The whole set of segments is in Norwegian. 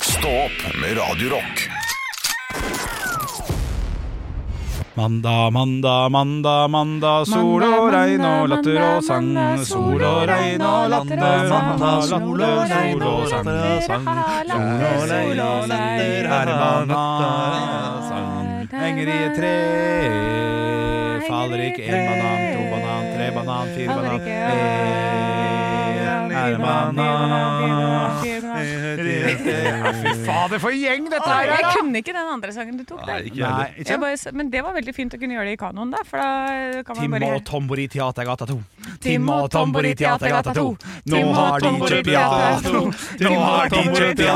Stå opp med Radio Rock. Mandag, mandag, mandag, mandag, sol og Mandag, regn og mandag, latter og sang. mandag, Sol og regn og latter og sang. Mandag, Sol og regn og sang. Sol og regn er i banan. Henger i et tre. Faller ikke en banan, to banan, tre banan, fire Faller banan. ikke En er en banan. Eh, Ja, Fy fader, for en gjeng dette her er! Jeg da! kunne ikke den andre sangen du tok. Nei, den. ikke heller. Nei, ikke Jeg sant? bare, s- men det var veldig fint å kunne gjøre det i kanoen, da. For da kan man Tim bare og gjøre- Tombori Teatergata 2. Tim og Tombori Teatergata 2. Tim og Tombori Teatergata 2. Nå Tim og har DJ Tombori piano. Teatergata Spille 2. kan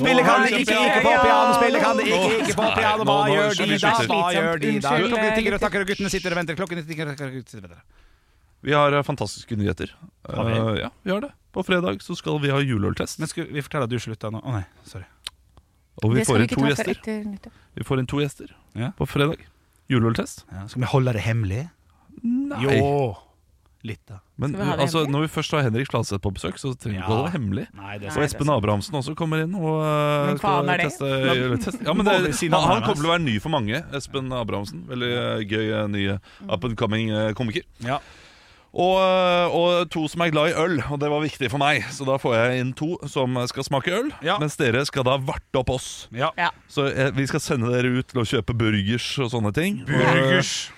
de Nå har ikke, DJ ikke på piano, piano. spille kan de ikke, ikke på piano. Hva Nå, nå, gjør de unnskyld, da? unnskyld. Hva gjør de da? Unnskyld, Klokken tikker og gutter. takker, og guttene sitter og venter. Klokken tikker og takker, og guttene sitter og venter. Vi har eh, fantastiske nyheter. Eh, Har ja, vi har det. På fredag så skal vi ha juleøltest. Men skulle vi fortelle at du slutta nå? Å nei, sorry. Og vi Det skal får inn ikke to ta før gjester. etter nyttår. Vi får inn to gjester Ja. på fredag. Juleøltest. Ja, skal vi holde det hemmelig? Nei. Jo. Litt, da. Men Skal vi ha det altså, hemmelig? når vi først har Henrik Slaseth på besøk, så trenger vi ikke Ja. holde det hemmelig. Nei, det Og Espen Abrahamsen også kommer inn og eh, Hvem faen er det? teste juletest. Ja, men Må det, vi si han, navnet han hans? kommer til å være ny for mange, Espen Abrahamsen. Veldig eh, gøy eh, ny Mm. eh, up and coming eh, komiker. Ja. Og, eh, og to som er glad i øl, og det var viktig for meg. Så da får jeg inn to som skal smake øl, Ja. mens dere skal da varte opp oss. ja. Ja. Så eh, vi skal sende dere ut til å kjøpe burgers og sånne ting. Burgers.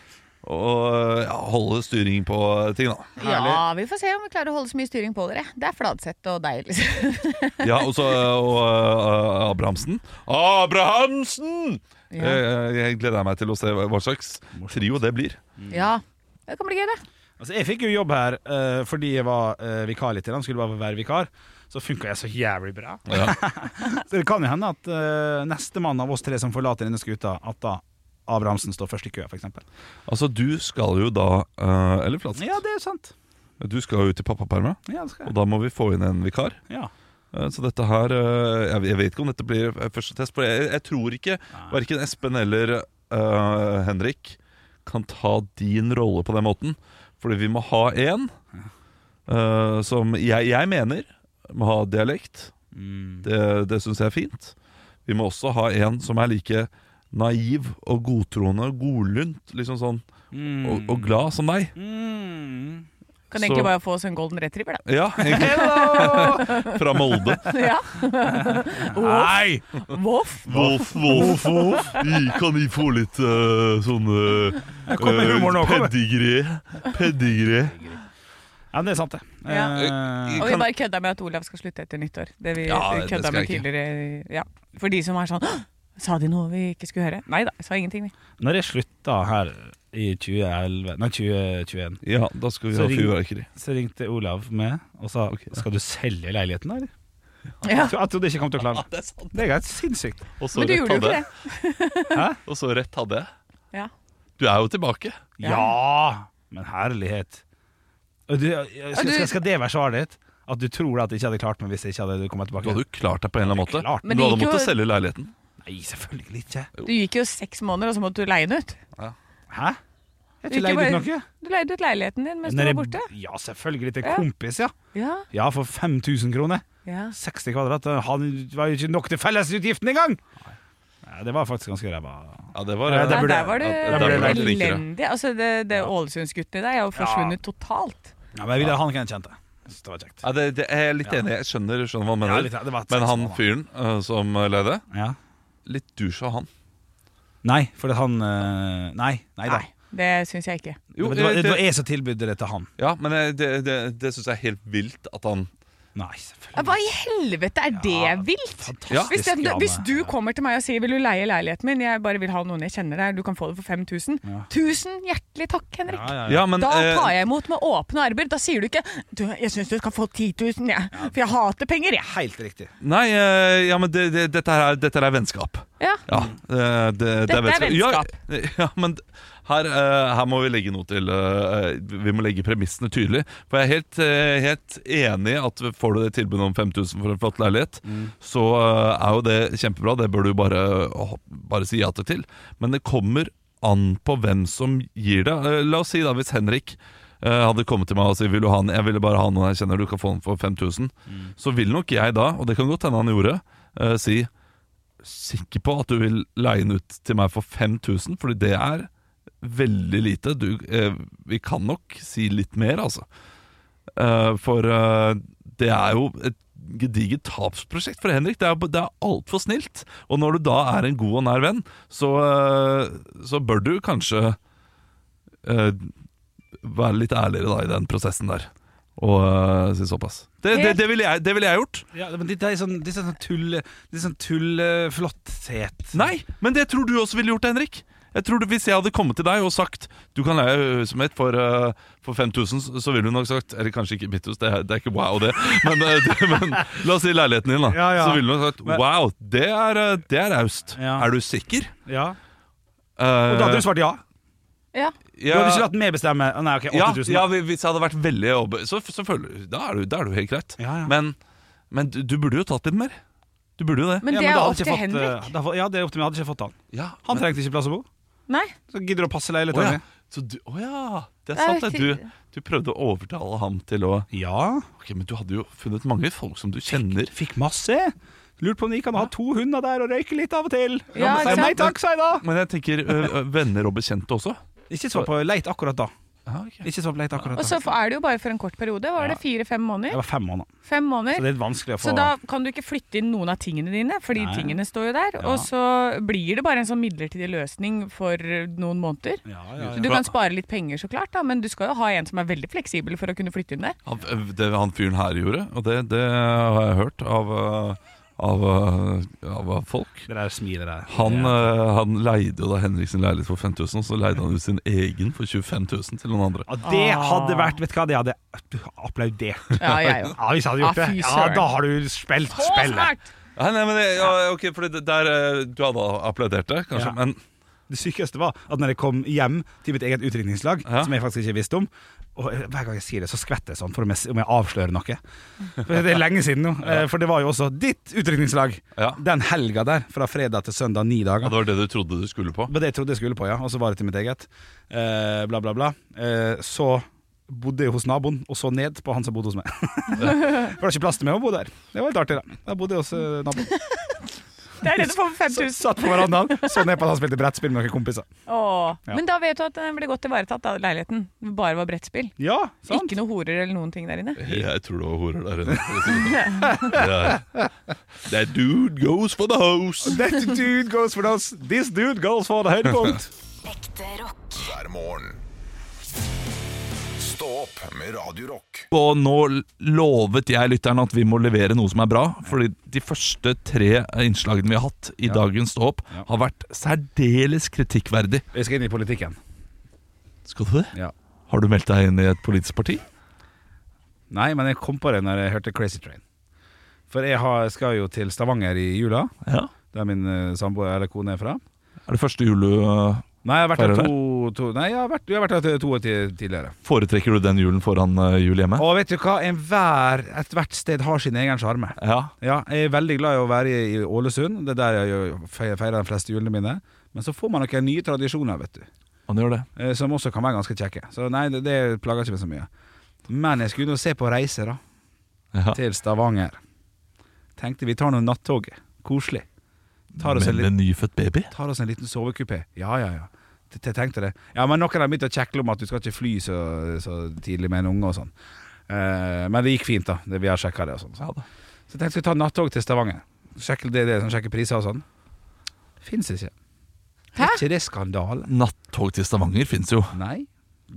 Og, og ja, holde styring på ting, da. ja, vi får se om vi klarer å holde så mye styring på dere. Det er Fladseth og deg, liksom. Ja, og så eh, og, eh, Abrahamsen. Abrahamsen! Ja. Eh, Jeg gleder meg til å se hva hva slags trio det blir. Ja. Det kan bli gøy, det. Altså, jeg fikk jo jobb her eh, fordi jeg var eh, vikar litt. Skulle bare være vikar. Så funka jeg så jævlig bra. Ja. Så det kan jo hende at eh, neste mann av oss tre som forlater denne skuta, at da Abrahamsen står først i køa, f.eks. Altså, du skal jo da eh, Eller Flatseth. Ja, det er sant. Du skal jo ut i pappaperma, Ja, det skal og jeg. da må vi få inn en vikar. Ja. Eh, Så dette her eh, Jeg jeg vet ikke om dette blir eh, første test, for jeg, jeg tror ikke verken Espen eller eh, Henrik kan ta din rolle på den måten. Fordi vi må ha en eh, som jeg, jeg mener må ha dialekt. Mm. Det, eh, det syns jeg er fint. Vi må også ha en som er like naiv og godtroende og godlynt liksom sånn, Mm. og, og glad som deg. Mm. Kan Så- egentlig bare få oss en golden retriever, da. Ja, egentlig. Fra Molde. Ja. Voff, Nei! voff. Voff, voff, voff. Kan vi få litt eh, sånn eh, Kom med humor nå, eh, kom med. Pedigree. Pedigree. Ja, det er sant, det. Ja. Eh, Og vi Kan- bare kødda med at Olav skal slutte etter nyttår. Det vi Ja, det kødda skal med jeg ikke. tidligere ja. For de som er sånn «Hå! Sa de noe vi ikke skulle høre? Nei da, jeg sa ingenting. vi. når jeg slutta her i 2011 Nei, 2021, Ja, da skal vi Så ha ring- fyrverkeri. så ringte Olav med og sa Skal du selge leiligheten, da, eller? Ja. Jeg trodde ikke jeg kom til å klare det. Det er sant. Det er helt sinnssykt. Og så Men du rett gjorde jo hadde ikke det. jeg. Og så rett hadde jeg. Ja. Du er jo tilbake. Ja. Ja! Men herlighet. Og du, skal, skal, skal det være svaret ditt? At du tror at jeg ikke hadde klart meg hvis jeg ikke hadde kommet Du tilbake? hadde jo klart deg på en eller annen måte. Klart. Men du det hadde gikk jo- måttet selge leiligheten. Nei, selvfølgelig ikke. Du gikk jo seks måneder, og så måtte du leie den ut. Hæ? Jeg har ikke Ikke leid ut bare- noe. Du leide ut leiligheten din mens du Når var jeg- borte. Ja, selvfølgelig. Til Ja. kompis, ja. Ja, Ja, for 5000 kroner. ja. 60 kvadrat. og Han var jo ikke nok til fellesutgiften engang! Nei, det var faktisk ganske ræva. Ja, det var Ja, Der, burde- der var du ja, der burde jeg vært flinkere. elendig. Altså, det, det Ålesundsguttene der er jo forsvunnet totalt. Ja, men jeg ville ha han hvem jeg kjente. Jeg synes det var kjekt. Ja, det, det er jeg litt Ja. enig i. Jeg skjønner, skjønner hva han Ja, mener. litt- det var et Men han sexmål, da. fyren eh, som leide, Ja. litt douche av han. Nei, fordi han øh, Nei, nei da. Nei, det syns jeg ikke. Det, Jo, var- det, var- eh, det var jeg som tilbød det til han. ja, men eh, det, det, det syns jeg er helt vilt at han Nei, selvfølgelig. Ja, Hva i helvete er Ja, det vilt? fantastisk hvis, den, drama. hvis du kommer til meg og sier 'vil du leie leiligheten min', jeg bare vil ha noen jeg kjenner der, du kan få det for 5000. Ja. Tusen hjertelig takk, Henrik. Ja, ja, ja. Ja, men Da eh, tar jeg imot med åpne armer. Da sier du ikke du, 'jeg syns du skal få 10 000', jeg, for jeg hater penger, jeg. Helt riktig. Nei, eh, ja, men det, det, dette, her er, dette her er vennskap. Ja. Ja, eh, det, Mm. Dette er Ja, ja, men her, eh, her må vi legge noe til eh, Vi må legge premissene tydelig. For jeg er helt, eh, helt enig i at får du det tilbudet om 5000 for en flott leilighet, Mm. så eh, er jo det kjempebra. Det bør du bare, åh, bare si ja til. til. Men det kommer an på hvem som gir det. Eh, La oss si da hvis Henrik eh, hadde kommet til meg og sagt vil du Mm. ha den? Jeg ville bare ha noen jeg kjenner du kan få den for 5000. Så vil nok jeg da, og det kan godt hende han gjorde, eh, si Sikker på at du vil leie den ut til meg for 5000, fordi det er veldig lite. Du, eh, vi kan nok si litt mer, altså. Eh, for eh, det er jo et gedigent tapsprosjekt for Henrik. Det er, det er altfor snilt. Og når du da er en god og nær venn, så, eh, så bør du kanskje eh, være litt ærligere da, i den prosessen der. Og eh, si såpass. Det, det, det ville jeg, det ville jeg gjort. Ja, men det er sånn, det er sånn tulle... Det er sånn tulleflotthet. Nei, men det tror du også ville gjort, Henrik. Jeg tror du, Hvis jeg hadde kommet til deg og sagt Du kan leie huset mitt for, eh, for 5000, så- så ville du nok sagt Eller kanskje ikke mitt hus, det er, det er ikke wow, det. Men, eh, det. men la oss si leiligheten din, da. Ja, ja. Så ville du nok sagt Men- Wow, det er eh, det er raust. Ja. Er du sikker? Eh, Ja. Og da hadde du svart ja. Ja. Du hadde ikke latt meg bestemme. Å, Nei, ok, ja, 8000. ja, hvis jeg hadde vært veldig overbe- så, så føler, da, er du, da er du helt greit. Ja, ja. Men, men du, du burde jo tatt litt mer. Du burde jo det. Ja, Men det er da hadde opp ikke til fått, eh, Henrik. da hadde- ja, det er opp til meg. Jeg hadde ikke fått han. Ja, Han men- trengte ikke plass å bo. Nei. Så gidder du å passe Å ja. leiligheten min? Så du, å ja, det er Det er sant. Det. jo Du, du prøvde å overtale ham til å Ja. Ok, Men du hadde jo funnet mange folk som du kjenner. Fikk masse. Lurt på om de kan ha to hunder der og røyke litt av og til. Ja, men ikke nei sant? takk, sa jeg da. Men jeg tenker ø, ø, venner og bekjente også. Ikke svar på leit akkurat da. Ja, ok. Ikke svar på leit akkurat Og så da. er det jo bare for en kort periode. Var det fire-fem Jeg måneder? var fem måneder, Fem så måneder. det er litt vanskelig å få Så da kan du ikke flytte inn noen av tingene dine, fordi Nei. tingene står jo der. Ja. Og så blir det bare en sånn midlertidig løsning for noen måneder. ja, ja, ja. Du kan spare litt penger, så klart, da, men du skal jo ha en som er veldig fleksibel for å kunne flytte inn der. Han, ø, det han fyren her gjorde, og det, det har jeg hørt av, ø, av, ø, av folk Det der smilet der. han, eh, ja. ø, han leide jo da Henrik sin leilighet for 5000, og så leide han ut sin egen for 25 000 til noen andre. Ja, det hadde vært Vet du hva, det hadde jeg applaudert. Ah. Ja, jeg jo. Ja, hvis jeg hadde gjort Ja, det. fy Ja, søren. da har du spilt Å, spillet. smart! Ja, nei, men det, ja, ok, for det, der, ø, Du hadde applaudert det, kanskje, Ja. men Det sykeste var at når jeg kom hjem til mitt eget utrykningslag, Ja. som jeg faktisk ikke visste om og eh, Hver gang jeg sier det, så skvetter jeg sånn for om jeg, om jeg avslører noe. For Det er lenge siden nå. eh, For det var jo også ditt utrykningslag Ja. den helga der, fra fredag til søndag, ni ja, dager. det var det du trodde du skulle på. Men det jeg trodde jeg skulle på, ja. Og så var det til mitt eget. Eh, bla, bla, bla. Eh, så bodde jeg hos naboen, og så ned på han som bodde hos meg. det var ikke plass til meg å bo der. Det var litt artig, da. Da bodde jeg hos eh, naboen. Det er det du får for Så, 5000. satt på verandaen, så ned på at han spilte brettspill med noen kompiser. Åh. Ja. Men da vet du at den ble godt ivaretatt, da, leiligheten. Det Bare var brettspill. Ja, sant? Ikke noe horer eller noen ting der inne. Jeg tror det var horer der inne. for å si det sånn. Det er- That dude goes for the house. That dude goes for those. This dude goes for the høydepunkt. Ekte rock. hver morgen. Stå opp med Radio Rock. Og nå lovet jeg lytterne at vi må levere noe som er bra. Fordi de første tre innslagene vi har hatt i dagens Stå opp, Ja. har vært særdeles kritikkverdig. Vi skal inn i politikken. Skal du det? Ja. Har du meldt deg inn i et politisk parti? Nei, men jeg kom på det når jeg hørte Crazy Train. For jeg har, skal jo til Stavanger i jula, Ja. der min eh, samboer eller kone er fra. Er det første jul du øh, Nei, jeg har vært Feirer der to, to Nei, jeg har vært, jeg har vært der to år ti- tidligere. Foretrekker du den julen foran øh, jul hjemme? Og vet du hva? Enhver, ethvert sted har sin egen sjarme. Ja. Ja, jeg er veldig glad i å være i, i Ålesund. Det er der jeg gjør- fe- feirer de fleste julene mine. Men så får man noen nye tradisjoner, vet du. Han gjør det. eh, Som også kan være ganske kjekke. Så nei, det, det plager ikke meg så mye. Men jeg skulle nå se på reise, da. Ja. til Stavanger. Tenkte vi tar noen nattoget. Koselig. Tar oss, en Men liten, en nyfødt baby? tar oss en liten sovekupé. Ja, ja, ja. T- Jeg tenkte det. Ja, men noen har begynt å kjekle om at du skal ikke fly så, så tidlig med en unge og sånn. Eh, men det gikk fint, da. Det, vi har sjekka det og sånn. Så Ja da. jeg tenkte vi tar nattog til Stavanger. Sjekke det, det, sånn, sjekke priser og sånn. Fins ikke. Hæ? Er ikke det skandale? Nattog til Stavanger fins jo. Nei.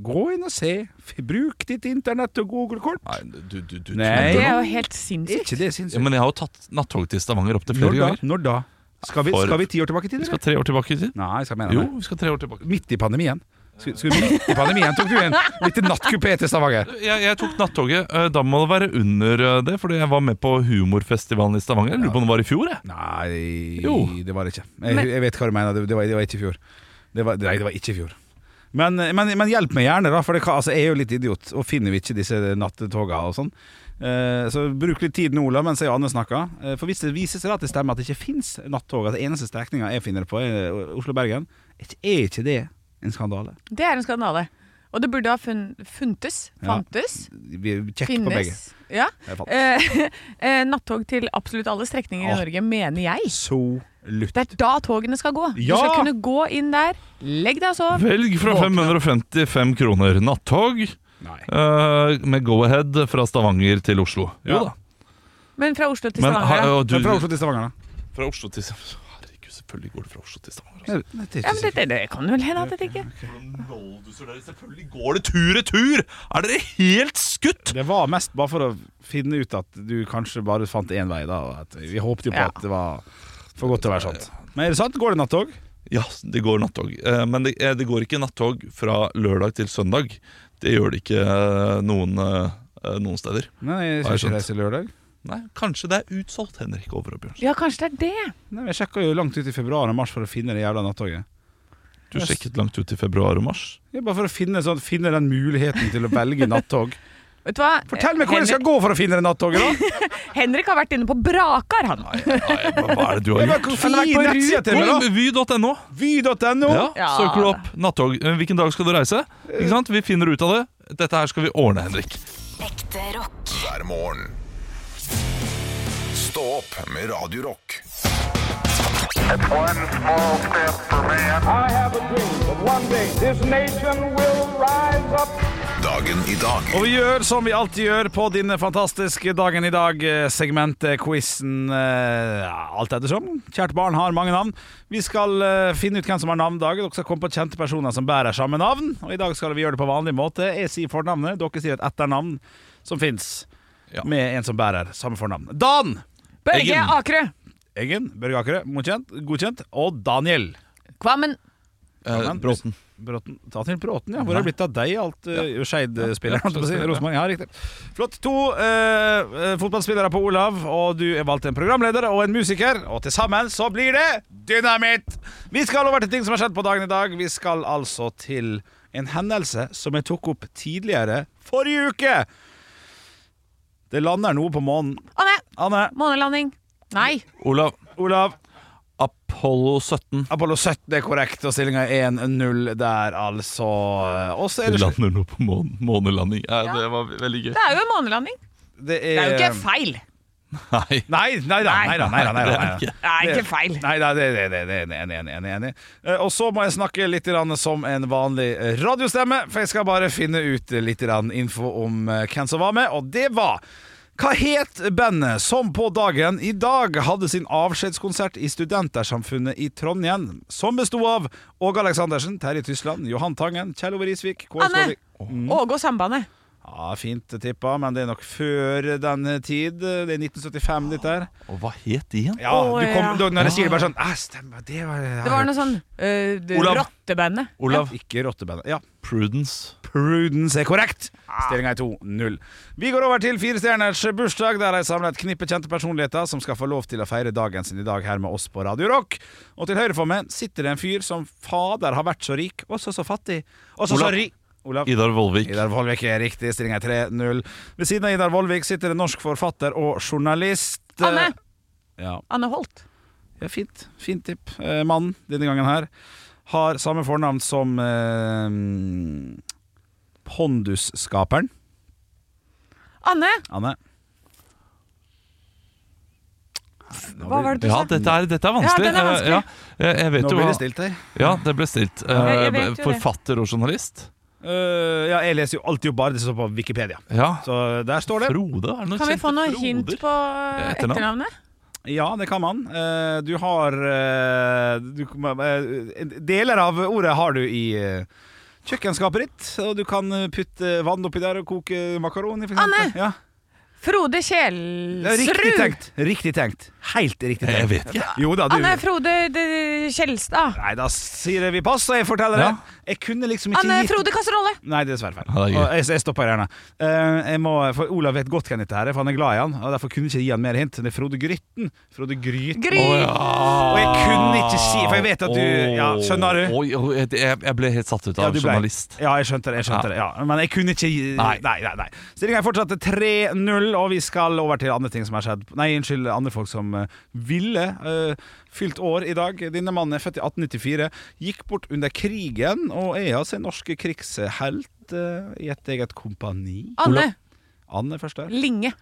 Gå inn og se. F- Bruk ditt internett og Google-kort. Nei, du, du, du Nei. Det tuller. er jo helt Er sinnssykt. ikke det Ja, sinnssykt? men jeg har jo tatt nattog til Stavanger opptil flere Når da? ganger. Når da? Skal vi, For- skal vi ti år tilbake i tid, Vi eller? skal tre år tilbake i tid. Nei, skal jeg mene Jo, det. vi skal tre år tilbake. Midt i pandemien. Skulle, skulle midt i pandemien tok du en liten nattkupé til Stavanger. Jeg, jeg tok nattoget. Eh, Da må det være under eh, det, fordi jeg var med på humorfestivalen i Stavanger. Jeg Lurer på om det var i fjor, jeg. Nei, Jo. det var det ikke. Jeg, jeg vet hva du mener. Det, det, var, det var ikke i fjor. Det var, nei, det var ikke i fjor. Men, men, men hjelp meg gjerne, da, for det, kan- altså, jeg er jo litt idiot. Og finner vi ikke disse nattetoga og sånn. Eh, så bruk litt tid nå, Ola, mens jeg og Anne snakker. Eh, for hvis det viser seg at det stemmer at det ikke fins nattog, at den eneste strekninga jeg finner på, er Oslo-Bergen, er ikke- er ikke det en skandale? Det er en skandale. Og det burde ha fun funtes, Ja. fantes, Vi Kjekk på begge. finnes ja. Jeg falt. eh, eh, Nattog til absolutt alle strekninger i Åh. Norge, mener jeg. Så lutt. Det er da togene skal gå. Ja! Du skal kunne gå inn der, legg deg og sov. Velg fra 555 kroner. Nattog Nei. eh, med go-ahead fra Stavanger til Oslo. Jo Ja. da. Men fra Oslo til Men, ha, Stavanger, da. og du, Men fra Oslo til Stavanger, da? fra Oslo til Herregud, selvfølgelig går det fra Oslo til Stavanger. Altså. Nei, nei, det er Ja, ikke men det, det, det kan vel hende at det ikke Hvordan nolduser dere? Selvfølgelig går det tur-retur! Er dere helt skutt? Det var mest bare for å finne ut at du kanskje bare fant én vei, da. Og at vi håpte jo på Ja. at det var for godt til å være sant. Men er det sant? Går det nattog? Ja, det går nattog. Eh, Men det, eh, det går ikke nattog fra lørdag til søndag. Det gjør det ikke eh, noen, eh, noen steder. Nei, jeg Har skal ikke jeg reise lørdag. Nei, Kanskje det er utsolgt, Henrik Over og Bjørnsen. Ja, kanskje det er det. Nei, men Jeg sjekka jo langt ut i februar og mars for å finne det jævla nattoget. Du sjekket langt ut i februar og mars. Ja, bare for å finne, sånn, finne den muligheten til å velge nattog. Vet du hva? Fortell meg hvor jeg skal Henrik, gå for å finne det nattoget, da! Henrik har vært inne på Brakar, han. Nei, nei, hva hva er det du Det har var gjort? en Han har vært fin på nettside til meg, da! Vy.no. Vy.no. Ja, Ja, søker du da. opp nattog. Eh, Hvilken dag skal du reise? Ikke sant? Vi finner ut av det. Dette her skal vi ordne, Henrik. Ekte rock. hver morgen. Stå opp med Radio Rock. One small step for man. I have a dream that one day this nation will rise up. Dagen i dag Og vi gjør som vi alltid gjør på din fantastiske Dagen i eh, dag-segmentet, quizen Eh, Alt ettersom. Kjært barn har mange navn. Vi skal eh, finne ut hvem som har navnedag. Dere skal komme på kjente personer som bærer samme navn. Og i dag skal vi gjøre det på vanlig måte. Jeg sier fornavnet, dere sier et etternavn som fins. Ja. Med en som bærer samme fornavn. Dan! Børge Eggen. Akerø. Eggen, Børge Akerø, godkjent, godkjent. Og Daniel. Kvammen. Eh, men- Bråten. Bråten. Daniel Bråten, ja. Hvor har det blitt av deg, alt uh, Skeid-spilleren? holdt jeg på å si. Rosenborg, ja, riktig. Flott. To eh, eh, fotballspillere på Olav, og du er valgt en programleder og en musiker. Og til sammen så blir det dynamitt! Vi skal over til ting som har skjedd på dagen i dag. Vi skal altså til en hendelse som jeg tok opp tidligere forrige uke. Det lander noe på månen. Anne. Anne, Månelanding. Nei. Olav. Olav, Apollo 17. Apollo 17 er korrekt, og stillinga er 1-0 der, altså. Og så er det lander nå på månen. Månelanding. Eh, Det var veldig gøy. Det er jo en månelanding. Det Det er jo Eh, ikke feil. Nei. Nei, nei da, nei da, nei da, nei da, nei da. Det er ikke feil. Nei da, det, det, det, det, det, enig, enig, enig, enig. Eh, Og så må jeg snakke litt grann som en vanlig eh, radiostemme, for jeg skal bare finne ut eh, litt grann info om eh, hvem som var med, og det var hva het bandet som på dagen i dag hadde sin avskjedskonsert i Studentersamfunnet i Trondheim, som besto av Åge Aleksandersen, Terje Tysland, Johan Tangen, Kjell Ove Risvik, Kåre Anne. Skåvik Åge og Sambandet. Ja, fint tippa, men det er nok før den tid. Det er 1975, litt der. Og hva het de igjen? Ja, Å, du kom, ja. da- når jeg sier det bare sånn «Ah, stemmer, det var det, Det var noe sånn eh, det- Olav. Rottebandet. Olav Ikke rottebandet. Ja, Prudence. Prudence er korrekt. Stillinga er 2-0. Vi går over til firestjerners bursdag, der jeg samler et knippe kjente personligheter som skal få lov til å feire dagen sin i dag her med oss på Radio Rock. Og til høyre for meg sitter det en fyr som fader har vært så rik, og så så fattig, og så så Olav. rik. Olav. Idar Vollvik. Idar Vollvik er riktig. Stillinga er 3-0. Ved siden av Idar Vollvik sitter en norsk forfatter og journalist. Anne. Ja. Anne Holt. Ja, fint. Fint tipp. Eh, mannen denne gangen her har samme fornavn som eh, Pondusskaperen. Anne. Anne. Hva var det du Ja, sa? dette er, dette er vanskelig. Ja, den er vanskelig. Eh, ja. Jeg- Jeg vet Nå jo blir det hva- stilt her. Ja, det ble stilt. jeg Eh, vet jo det. Forfatter og journalist. Eh, ja, jeg leser jo alltid jo bare det som står på Wikipedia. Ja. Så der står det. Frode? Er det noe Kan vi kjente få noe Froder? hint på Etternavn. etternavnet? Ja, det kan man. Eh, du har eh, du, eh, Deler av ordet har du i eh, kjøkkenskapet ditt. Og du kan eh, putte vann oppi der og koke makaroni, for eksempel. Anne! Ja. Frode Det er Riktig Kjelsrud. tenkt. Riktig tenkt. Helt riktig tenkt. Jeg vet ikke. Jo da, du Anne Frode de- Kjelstad. Nei, da sier jeg vi pass, og jeg forteller det. Ja. Jeg kunne liksom ikke Anne gitt- Frode Kasserolle. Nei, det er dessverre feil. Ja, det er gøy. Og jeg jeg stopper gjerne. Eh, jeg må, for Olav vet godt hvem dette her er, for han er glad i han. Og Derfor kunne jeg ikke gi han mer hint. Det er Frode Grytten. Frode Gryten. Gry. Å, ja. Og jeg kunne ikke si, for jeg vet at du Ja, skjønner du? Oi, oi, jeg- jeg, jeg ble helt satt ut Ja, av du ble- journalist. Ja, jeg skjønte det. jeg skjønte det ja. Men jeg kunne ikke gi- Nei. Nei, nei, nei. Stillinga er fortsatt 3-0, og vi skal over til andre ting som har skjedd Nei, unnskyld, andre folk som eh, ville eh, fylt år i dag. Denne mannen er født i 1894, gikk bort under krigen og er altså en norsk krigshelt eh, i et eget kompani. Anne Anne første. Linge.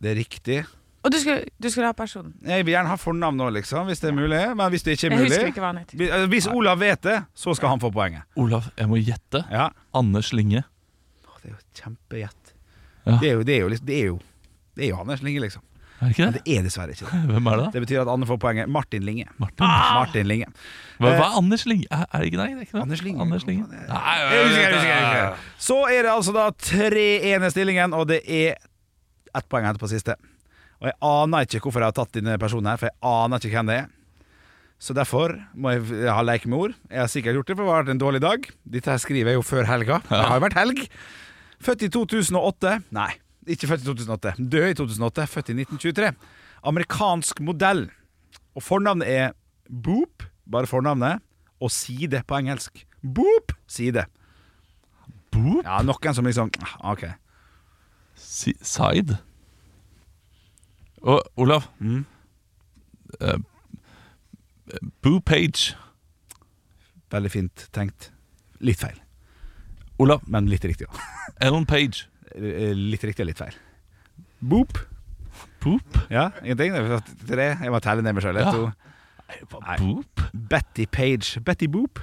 Det er riktig. Og du skulle, du skulle ha personen. Jeg vil gjerne ha fornavn nå, liksom, hvis det er mulig. Men hvis det ikke er Jeg mulig husker ikke hva han het. Vi- eh, Hvis Olav vet det, så skal han få poenget. Olav, jeg må gjette. Ja. Anders Linge. Det er jo kjempegjett. Ja. Det, er jo- det, er jo liksom- det er jo Det er jo Anders Linge, liksom. Er det ikke Men det? det er dessverre ikke det. Hvem er det? da? Det betyr at Anne får poenget. Martin Linge. Martin. Martin Linge. Hva, hva er Anders Linge? Er, er det ikke nei, det? Er ikke det? Eh, Anders Linge. Anders Linge. Nei, Jeg husker, jeg husker, jeg husker. Så er det altså da 3-1 i stillingen, og det er ett poeng her på siste. Og jeg aner ikke hvorfor jeg har tatt denne personen her, for jeg aner ikke hvem det er. Så derfor må jeg jeg ha leik med ord. Jeg har sikkert gjort det, for det har vært en dårlig dag. Dette her skriver jeg jo før helga. Det har jo vært helg. Født i 2008. Nei, ikke født i 2008. Død i 2008. Født i 1923. Amerikansk modell. Og fornavnet er Boop, bare fornavnet, og side på engelsk. Boop, side. Boop? Ja, noen som liksom ah, Ok. Si- Side. Og Olav. Mm. Eh, Boo Page. Veldig fint tenkt. Litt feil, Olav. men litt riktig òg. Ellen Page. Litt riktig og litt feil. Boop. Boop? Ja, ingenting? Det var Tre. Jeg må telle ned meg sjøl. Ja. to Nei. Boop? Betty Page. Betty Boop.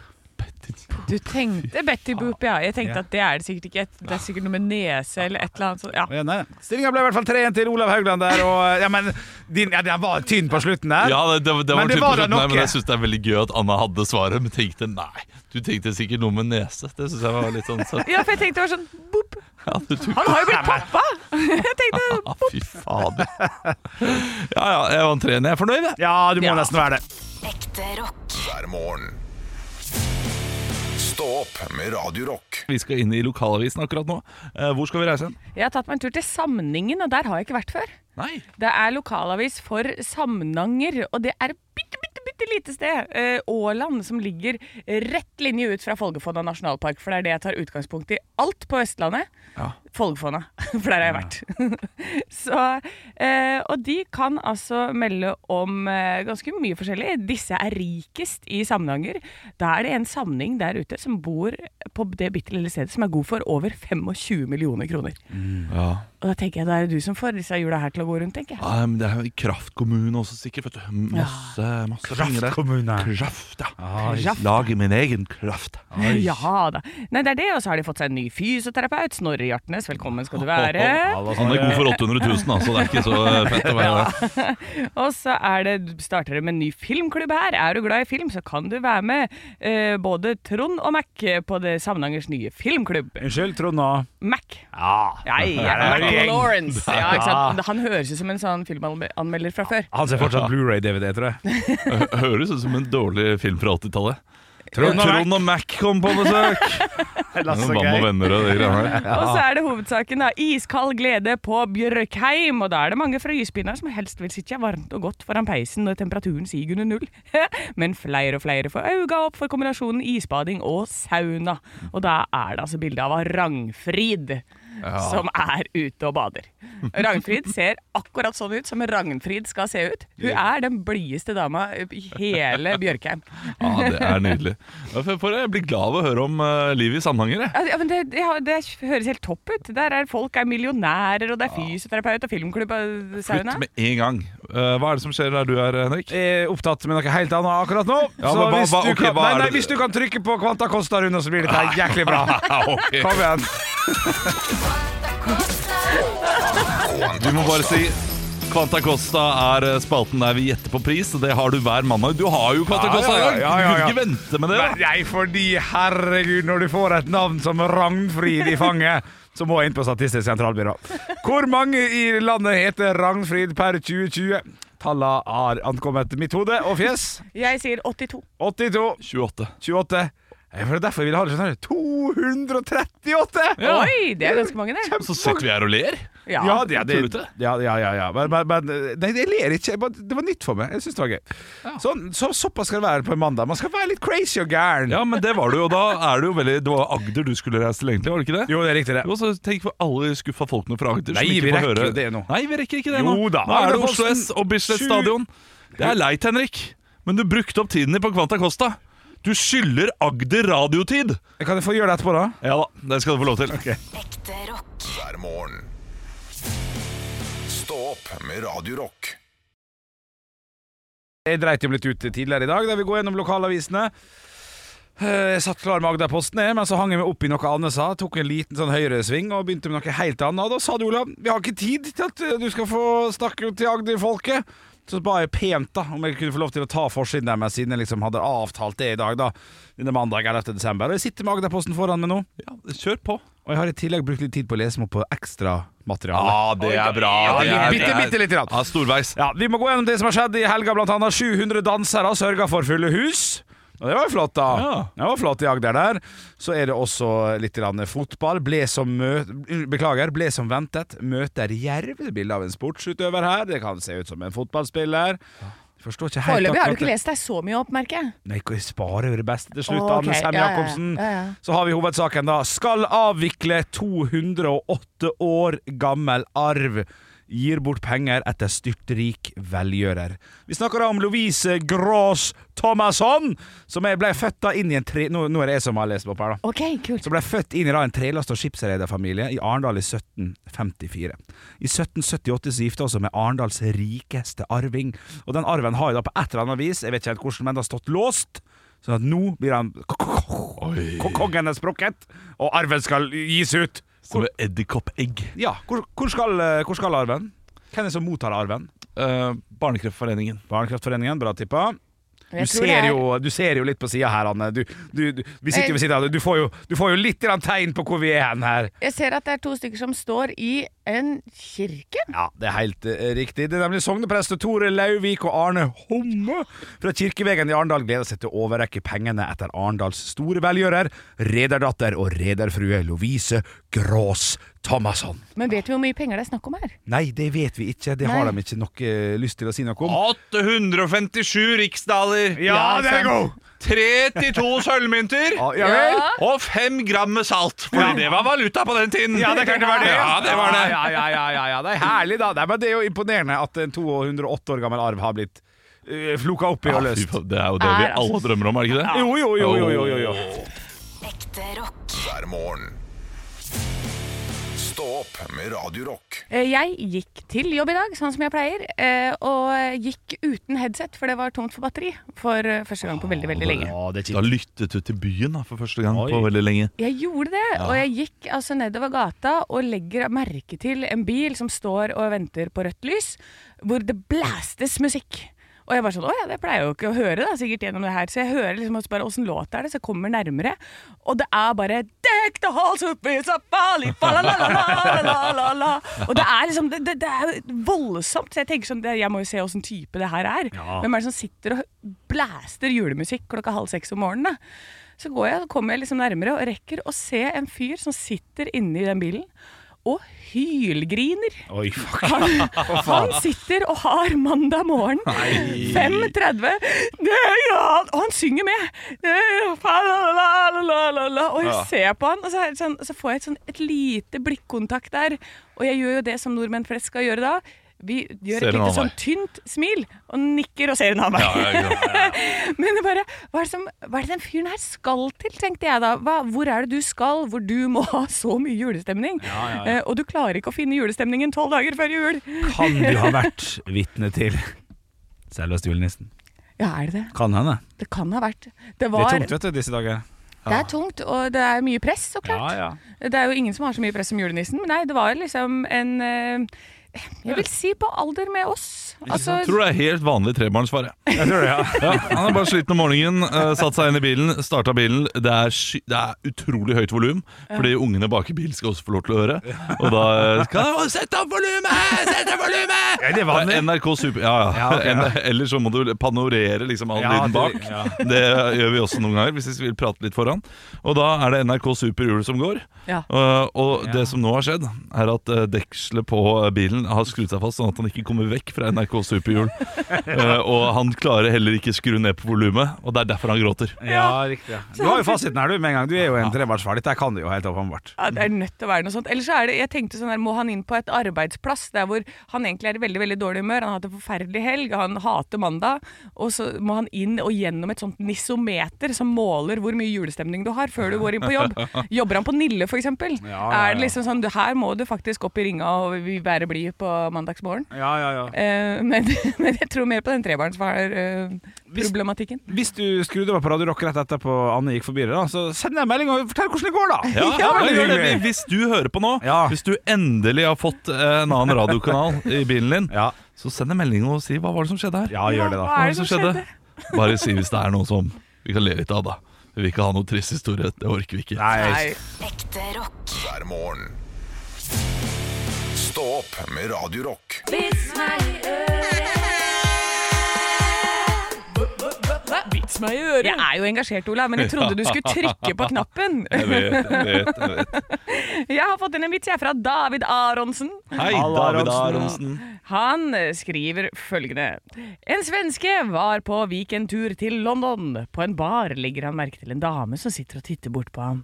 Du tenkte Betty Boop, ja. Jeg tenkte Ja. at det er det sikkert ikke. Det er sikkert noe med nese eller et eller annet sånt. Ja. Ja, nei. Stillinga ble i hvert fall 3-1 til Olav Haugland der, og ja, men din, ja, den var tynn på slutten der. Ja, det, det, det var Men det typen var da slutten her, noe. men jeg syns det er veldig gøy at Anna hadde svaret, men tenkte nei. Du tenkte sikkert noe med nese. Det syns jeg var litt sånn søtt. ja, for jeg tenkte det var sånn Boop. Ja, du tok Han har jo blitt pappa! Jeg tenkte Ja, fy fader. Ja ja, jeg vant 3-1. Jeg er fornøyd, jeg. Ja, du må nesten være det. Ekte rock. hver morgen. Stå opp med Radio Rock. Vi skal inn i lokalavisen akkurat nå. Eh, Hvor skal vi reise hen? Jeg har tatt meg en tur til Samningen, og der har jeg ikke vært før. Nei. Det er lokalavis for Samnanger, og det er et bitte, bitte, bitte lite sted. Eh, Åland, som ligger rett linje ut fra Folgefonna nasjonalpark, for det er det jeg tar utgangspunkt i. Alt på Vestlandet. Ja. Folgefonna, for der har jeg vært. Så, eh, og de kan altså melde om eh, ganske mye forskjellig. Disse er rikest i Samnanger. Da er det en samning der ute som bor på det bitte lille stedet som er god for over 25 millioner kroner. Ja. Og da tenker jeg, da er det du som får disse hjula her til å gå rundt, tenker jeg. Ja, men det er jo kraftkommune også, sikkert. Vet du. Masse, masse penger der. Kraftkommune. Kraft, ja. Kraft. Lager min egen kraft. Ja da. Nei, det er det, og så har de fått seg en ny fysioterapeut. Snorre Hjartnes, velkommen skal du være. Han er god for 800 000, altså. Det er ikke så fett å være det. Og så er det, starter det med en ny filmklubb her. Er du glad i film, så kan du være med eh, både Trond og Mac på det Samnangers nye filmklubb. Unnskyld, Trond A. Mac. Ja. Ja, ja, det er Mac en gjeng. Lawrence. Ja, ikke sant? Han høres ut som en sånn filmanmelder fra før. Han ser fortsatt Blu-ray-DVD, tror jeg. Hø- Høres ut som en dårlig film fra 80-tallet. Trond og Mac. Trond og Mac kom på besøk! Lasse Bam og Geir. venner og de greiene der. Og så er det hovedsaken, da. Iskald glede på Bjørkheim. Og da er det mange frøyespinner som helst vil sitte varmt og godt foran peisen når temperaturen siger under null. Men flere og flere får øynene opp for kombinasjonen isbading og sauna. Og da er det altså bilde av Rangfrid. Som er ute og bader. Ragnfrid ser akkurat sånn ut som Ragnfrid skal se ut. Hun er den blideste dama i hele Bjørkheim. Ja, det er nydelig. Ja, for- for Jeg blir glad av å høre om eh, livet i Samnanger. jeg. Ja, det- Ja, men det, det, har- det høres helt topp ut. Der er folk er millionærer, og det er fysioterapeut og filmklubb og sauna. Slutt med en gang. Eh, Hva er det som skjer der du er, Henrik? er opptatt med noe helt annet akkurat nå. Ja, så men hva- hvis, hva- du ok, kan, hva nei, er nei, det- hvis du kan trykke på Kvanta Costa Rune, så blir dette jæklig bra. Ja, ok. Kom igjen. Vi må bare si Quanta Costa er eh, spalten der vi gjetter på pris. og Det har du hver mandag. Du har jo Quanta Ja, Costa i ja, dag! ja, ja, Du ja. kan ikke vente med det. da. Nei, fordi herregud, når du får et navn som Ragnfrid i fanget, så må jeg inn på Statistisk sentralbyrå. Hvor mange i landet heter Ragnfrid per 2020? Tallene har ankommet mitt hode og fjes. Jeg sier 82. 82, 28. 28, Eh, Det er derfor jeg ville ha det sånn. her. 238! Ja. Oi, det er ganske mange, det. Så sitter vi her og ler. Ja. Ja, det, det, tullete. ja, ja, ja, ja. Men, men, men nei, jeg ler ikke. Jeg bare- Det var nytt for meg. Jeg syns det var gøy. Sånn, så, såpass skal det være på en mandag. Man skal være litt crazy og gæren. Ja, men det var du jo da. Er du jo veldig, det var Agder du skulle reise til, egentlig, var det ikke det? Jo, det er riktig, det. Jo, så tenk for alle skuffa folkene fra Agder. som Nei, ikke vi får rekker høre. jo det nå. Nei, vi rekker ikke det Jo nå. da. Nå er det Agderposten, Oslo S og Bislett sju- Stadion. Det er leit, Henrik, men du brukte opp tiden din på Kvanta Costa. Du skylder Agder radiotid! Kan jeg få gjøre det etterpå, da? Ja da, det skal du få lov til. Ekte rock. hver morgen. Stå opp med Radio Rock. Jeg dreit jo litt ut tidligere i dag, da vi går gjennom lokalavisene. Eh, Jeg satt klar med Agderposten, jeg, men så hang jeg meg opp i noe Anne sa. Tok en liten sånn høyresving og begynte med noe helt annet. Og da sa du, Olav, vi har ikke tid til at eh, du skal få snakke til Agder-folket. Så ba jeg pent da om jeg kunne få lov til å ta forsiden der, med, siden jeg liksom hadde avtalt det i dag, da. Denne mandag 11. desember. Og jeg sitter med Agderposten foran meg nå, Ja, kjør på. og jeg har i tillegg brukt litt tid på å lese meg opp på ekstramateriale. Ja, det er bra. det er- bitte, bitte lite grann. Ja, Storveis. Ja, Vi må gå gjennom det som har skjedd i helga. Blant annet 700 dansere sørga for fulle hus. Og Det var jo flott, da. Ja. Det var flott i Agder der. Så er det også litt grann fotball. Ble som mø Beklager, ble som ventet. Møter Jerv. Bilde av en sportsutøver her. Det kan se ut som en fotballspiller. Forstår ikke helt Foreløpig har du akkurat ikke det. lest deg så mye opp, merker jeg. Nei, jeg sparer jo det beste til slutt. Å, ok. Anne Sem Ja, ja, ja. Jacobsen. Ja, ja. Så har vi hovedsaken, da. Skal avvikle 208 år gammel arv. Gir bort penger etter styrtrik velgjører. Vi snakker da om Lovise Grås Thomasson, som jeg ble født da inn i en tre... Nå, nå er det jeg som har lest opp her, da. Ok, kult. Som ble født inn i da en trelast- og skipsrederfamilie i Arendal i 1754. I 1778 så gifta hun seg med Arendals rikeste arving, og den arven har jo da på et eller annet vis, jeg vet ikke helt hvordan, men det har stått låst. Sånn at nå blir han ko- Kongen er sprukket, og arven skal gis ut! Som et edderkoppegg. Ja, hvor, hvor, skal, eh, hvor skal arven? Hvem er det som mottar arven? Eh, Barnekreftforeningen. Barnekreftforeningen, bra tippa. Du Jeg tror ser, det er- jo, du ser jo litt på sida her, Anne. Du, du, du, vi sitter jo ved siden av deg. Du får jo, du får jo litt grann tegn på hvor vi er hen her. Jeg ser at det er to stykker som står i en kirke. Ja, det er helt eh, riktig. Det er nemlig sogneprester Tore Lauvik og Arne Homme fra Kirkevegen i Arendal gleder seg til å overrekke pengene etter Arendals store velgjører, rederdatter og rederfrue Lovise Grås Thomasson. Men vet vi hvor mye penger det er snakk om her? Nei, det vet vi ikke. Det har de ikke nok eh, lyst til å si noe om. 857 riksdaler. Ja, det er god! 32 sølvmynter. Ja, ja vel? Og fem gram med salt, Fordi det var valuta på den tiden. Ja, det kan det være det. Ja, det var det. Ja, ja, ja, ja, ja, Det er herlig, da. Nei, men det er jo imponerende at en 208 år gammel arv har blitt uh, floka opp i og Ja, fy løst. faen, det er jo det vi Er, altså. alle drømmer om, er det ikke det? Jo, jo, jo, jo, jo, jo, jo. Ekte rock. hver morgen. Stå opp med Radio Rock. Eh, Jeg gikk til jobb i dag, sånn som jeg pleier, eh, og gikk uten headset, for det var tomt for batteri for eh, første gang på veldig, veldig lenge. Ja, det er Da kjipt. lyttet du til byen da, for første gang Oi. på veldig lenge. Jeg gjorde det, og jeg gikk altså nedover gata og legger merke til en bil som står og venter på rødt lys, hvor det blæstes musikk. Og jeg var sånn, åja, det pleier jeg jo ikke å høre da, sikkert gjennom det her. Så jeg hører liksom også bare, åssen låt er det, så jeg kommer nærmere. Og det er bare, «Deck the halls up is a bali, balalalalala». Og det er liksom, det, det, det er jo voldsomt. Så jeg tenker sånn, det, jeg må jo se åssen type det her er. Hvem er det som sitter og blæster julemusikk klokka halv seks om morgenen da? Så går jeg, så kommer jeg liksom nærmere og rekker å se en fyr som sitter inni den bilen og hylgriner. Oi, fuck. Han, han sitter og har mandag morgen 5.30 det er ja, Og han synger med! Det er ja, fa- la, la, la, la, la, la. Og jeg ser på han, og så, er det sånn, så får jeg et, sånn, et lite blikkontakt der. Og jeg gjør jo det som nordmenn flest skal gjøre da. Vi gjør Ser et en lite annen sånn tynt smil og nikker og ser en annen vei. Men det bare, hva er det, som, hva er det den fyren her skal til, tenkte jeg da. Hva, hvor er det du skal, hvor du må ha så mye julestemning? Eh, og du klarer ikke å finne julestemningen tolv dager før jul. kan du ha vært vitne til selveste julenissen. Ja, er det det? Kan hende. Det kan ha vært. Det, Det var, er tungt, vet du, disse dager. Det er tungt, og det er mye press, så klart. Det er jo ingen som har så mye press som julenissen. Men nei, det var liksom en eh, Jeg vil si på alder med oss. Altså, Jeg tror det er helt vanlig trebarnsfar. jeg. Jeg tror det, ja. Ja, han er bare sliten om morgenen, eh, satt seg inn i bilen, starta bilen. Det er, sky, det er utrolig høyt volum, fordi ungene bak i bil skal også få lov til å høre. Og da eh, kan jeg Sett opp volumet! Sett opp volumet! Er det vanlig? NRK Super... Ja, ja. Ja, ok, ja. Ellers så må du panorere liksom all Ja, lyden bak. det- ja. Det gjør vi også noen ganger, hvis vi vil prate litt foran. Og da er det NRK Super Hjul som går. Ja. Og, Eh, og det som nå har skjedd, er at eh, dekselet på bilen har skrudd seg fast, sånn at han ikke kommer vekk fra NRK Super Hjul. Eh, og han klarer heller ikke skru ned på volumet, og det er derfor han gråter. ja, riktig. Ja. Du har jo fasiten her, du, med en gang. Du er jo en trebarnsfar. Dette kan du jo helt åpenbart. Ja, det er nødt til å være noe sånt. Ellers så er det, jeg tenkte sånn her, må han inn på et arbeidsplass der hvor han egentlig er i veldig veldig dårlig humør, han har hatt en forferdelig helg, han hater mandag, og så må han inn og gjennom et sånt nissometer som måler hvor mye julestemning du har før du går inn på jobb. Jobber han på Nille, for eksempel? Ja, ja, ja. Er det liksom sånn, du, her må du faktisk opp i ringa og vi- være blid på mandagsmorgen? Ja, ja, ja. Eh, men, men jeg tror mer på den trebarnsfar-problematikken. Hvis du skrudde over på Radio Rock rett etterpå Anne gikk forbi deg, da, så send deg en melding og fortell hvordan det går, da. Ja, det var men gjør det. hyggelig. Hvis du hører på nå, Ja. hvis du endelig har fått eh, en annen radiokanal i bilen din, Ja. så send en melding og si hva var det som skjedde her. ja, gjør det, da. Hva er det som skjedde? Bare si hvis det er noe som vi kan le litt av, da. Vi vil ikke ha noe trist historie. Det orker vi ikke. Nei. Ekte rock. hver morgen. Stå opp med Radio Rock. Vits meg i øret! Jeg er jo engasjert, Ola, men jeg trodde du skulle trykke på knappen. Jeg vet, jeg vet, jeg vet. Jeg har fått inn en vits jeg fra David Aronsen. Hei, Halla, David Aronsen. Aronsen. Han eh, skriver følgende. En svenske var på weekendtur til London. På en bar legger han merke til en dame som sitter og titter bort på ham.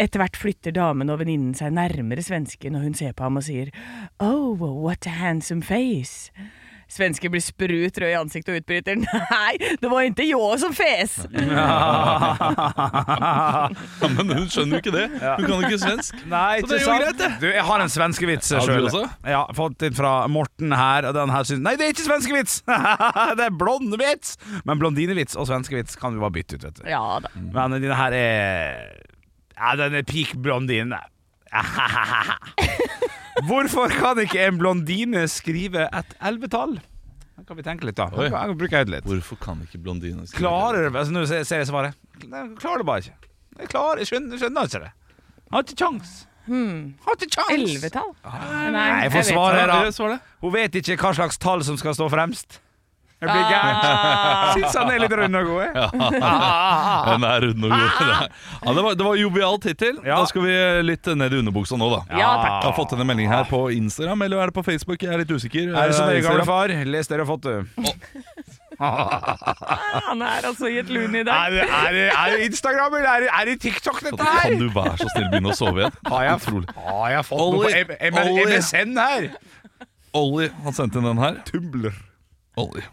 Etter hvert flytter damen og venninnen seg nærmere svensken, og hun ser på ham og sier Oh, what a handsome face. Svensken blir sprut rød i ansiktet og utbryter Nei, det var ikke jeg som fes! Ja, men hun skjønner jo ikke det. Hun kan jo ikke svensk. Nei, ikke Så det er jo sant? greit, det. Du, jeg har en svenskevits Har du sjøl. også? Ja, fått inn fra Morten her. Og den her syns Nei, det er ikke svenskevits! det er blondevits! Men blondinevits og svenskevits kan vi bare bytte ut, vet du. Ja da. Mm. Men denne her er Ja, den er peak blondine. Hvorfor kan ikke en blondine skrive et elvetall? Da kan vi tenke litt, da. Oi. Da kan vi bruke hodet litt. Hvorfor kan ikke blondiner skrive Klarer du altså, Nå ser ser jeg svaret. Nei, jeg Klarer det bare ikke. Jeg, klarer, jeg skjønner, skjønner ikke det. Har ikke kjangs. Har ikke kjangs. Elvetall? Nei, jeg får vet svare her, Ja, da. det svar det. Hun vet ikke hva slags tall som skal stå fremst. Jeg blir gæren. Syns han er litt rund og god. jeg. Den er rund og Ah! god. Ja, det, var, det var jovialt hittil. Ja. Da skal vi litt ned i underbuksa nå, da. Ja, takk. Jeg har fått en melding her på Instagram, eller er det på Facebook? Jeg er litt usikker. eh, Er det sånn dere, gamle Instagram. far? Les dere og fått det. Han er altså i et lune i dag. Er det, er det, er det Instagram, eller er det, er det TikTok, dette Kan her? du være så snill begynne å sove igjen? Har jeg, Utrolig. har jeg fått noe på Ollie, M- M- Ollie. MSN her? Ollie, han sendte inn den her. Tumbler. Ollie.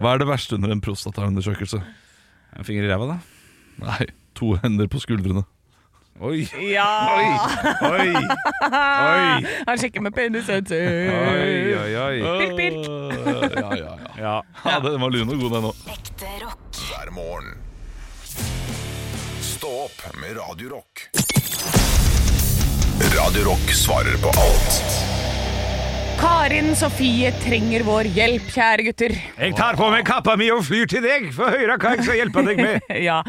Hva er det verste under en prostataundersøkelse? En finger i ræva, da. Nei, to hender på skuldrene. Oi, Ja! oi, oi. Han sjekker med penis. Oi, oi, oi. Pirk, pirk. Øh, Ja, ja, ja. Ja. ja den var lun og god, den òg. Ekte rock. hver morgen. Stå opp med Radio Rock. Radio Rock svarer på alt Karin Sofie trenger vår hjelp, kjære gutter. Jeg tar på meg kappa mi og flyr til deg, for høyre hva jeg skal hjelpe deg med. Ja.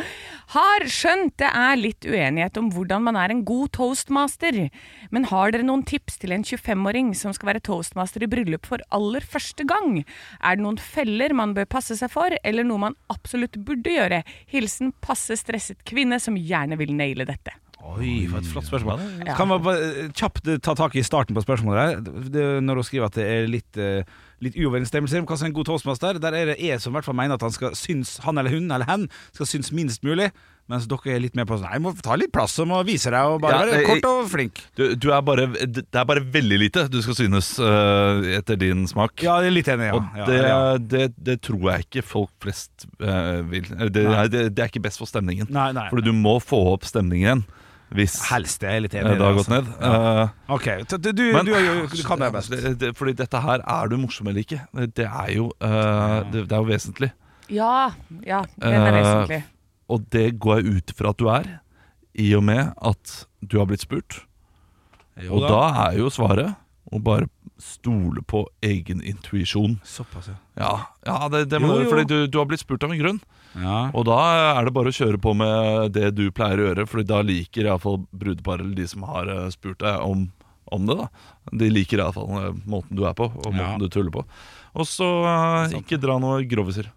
Har skjønt det er litt uenighet om hvordan man er en god toastmaster, men har dere noen tips til en 25-åring som skal være toastmaster i bryllup for aller første gang? Er det noen feller man bør passe seg for, eller noe man absolutt burde gjøre? Hilsen passe stresset kvinne som gjerne vil naile dette. Oi, for et flott spørsmål. Kan man bare eh, kjapt eh, ta tak i starten på spørsmålet her? Det, når hun skriver at det er litt, eh, litt uoverensstemmelse om hva som er en god toastmaster, der er det jeg som i hvert fall mener at han, skal synes, han eller hun eller hen skal synes minst mulig, mens dere er litt mer på sånn Nei, må ta litt plass og må vise deg og bare Ja, være eh, kort og flink. Du, du er bare, det er bare veldig lite du skal synes øh, etter din smak. Ja, jeg er litt enig, ja. Og ja, det, ja. det, det tror jeg ikke folk flest øh, vil. Eller Det, Nei. det, det er ikke best for stemningen. Nei, nei. Fordi du må få opp stemningen igjen hvis Helst, jeg er litt eh, enig. i det har det, gått ned. Eh, altså. Ok, t- t- du, Men- du, er jo- du kan det best. Det, det, fordi dette her er du morsom eller ikke. Det er jo, eh, det, det er jo vesentlig. Ja, ja, den er Eh, vesentlig. Og det går jeg ut fra at du er, i og med at du har blitt spurt. Og da er jo svaret å bare stole på egen intuisjon. Såpass, ja. Ja, ja det, det må Jo, du gjøre, jo. fordi du, du har blitt spurt av en grunn. Og da er det bare å kjøre på med det du pleier å gjøre, Fordi da liker iallfall brudeparet eller de som har eh, spurt deg om, om det. da De liker iallfall eh, måten du er på, og måten Ja. du tuller på. Og så eh, ikke dra noen groviser.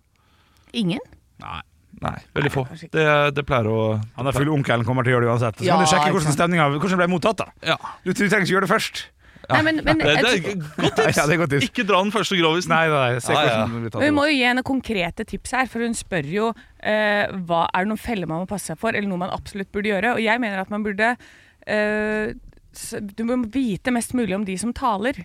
Ingen? Nei. Nei, veldig få. Det, det pleier å Han der fulle onkelen kommer til å gjøre det uansett. Så Ja, kan du sjekke ikke hvordan sant. stemninga hvordan ble mottatt. da Ja. Du, du trenger ikke gjøre det først. Nei, men, men, Det, det er jeg tror- et godt tips! Ja, det er godt tips. Ikke dra den første grovisen. Nei, nei, se Ja, ja, ja. hvordan det blir men vi tatt. må jo gi henne konkrete tips her, for hun spør jo eh, hva er det noen feller man må passe seg for, eller noe man absolutt burde gjøre. Og jeg mener at man burde eh, s- du må vite mest mulig om de som taler.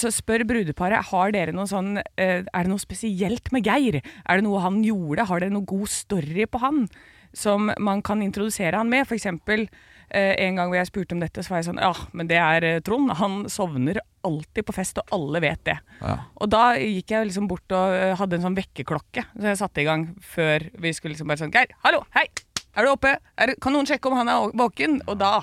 Så spør brudeparet har dere noe sånn eh, Er det noe spesielt med Geir. Er det noe han gjorde? Har dere noe god story på han som man kan introdusere han med? For eksempel, eh, en gang hvor jeg spurte om dette, så var jeg sånn Ja, men det er eh, Trond. Han sovner alltid på fest, og alle vet det. Og da gikk jeg liksom bort og eh, hadde en sånn vekkerklokke som jeg satte i gang før vi skulle liksom bare sånn Geir, hallo, hei! Er du oppe? Er, kan noen sjekke om han er våken? Og da,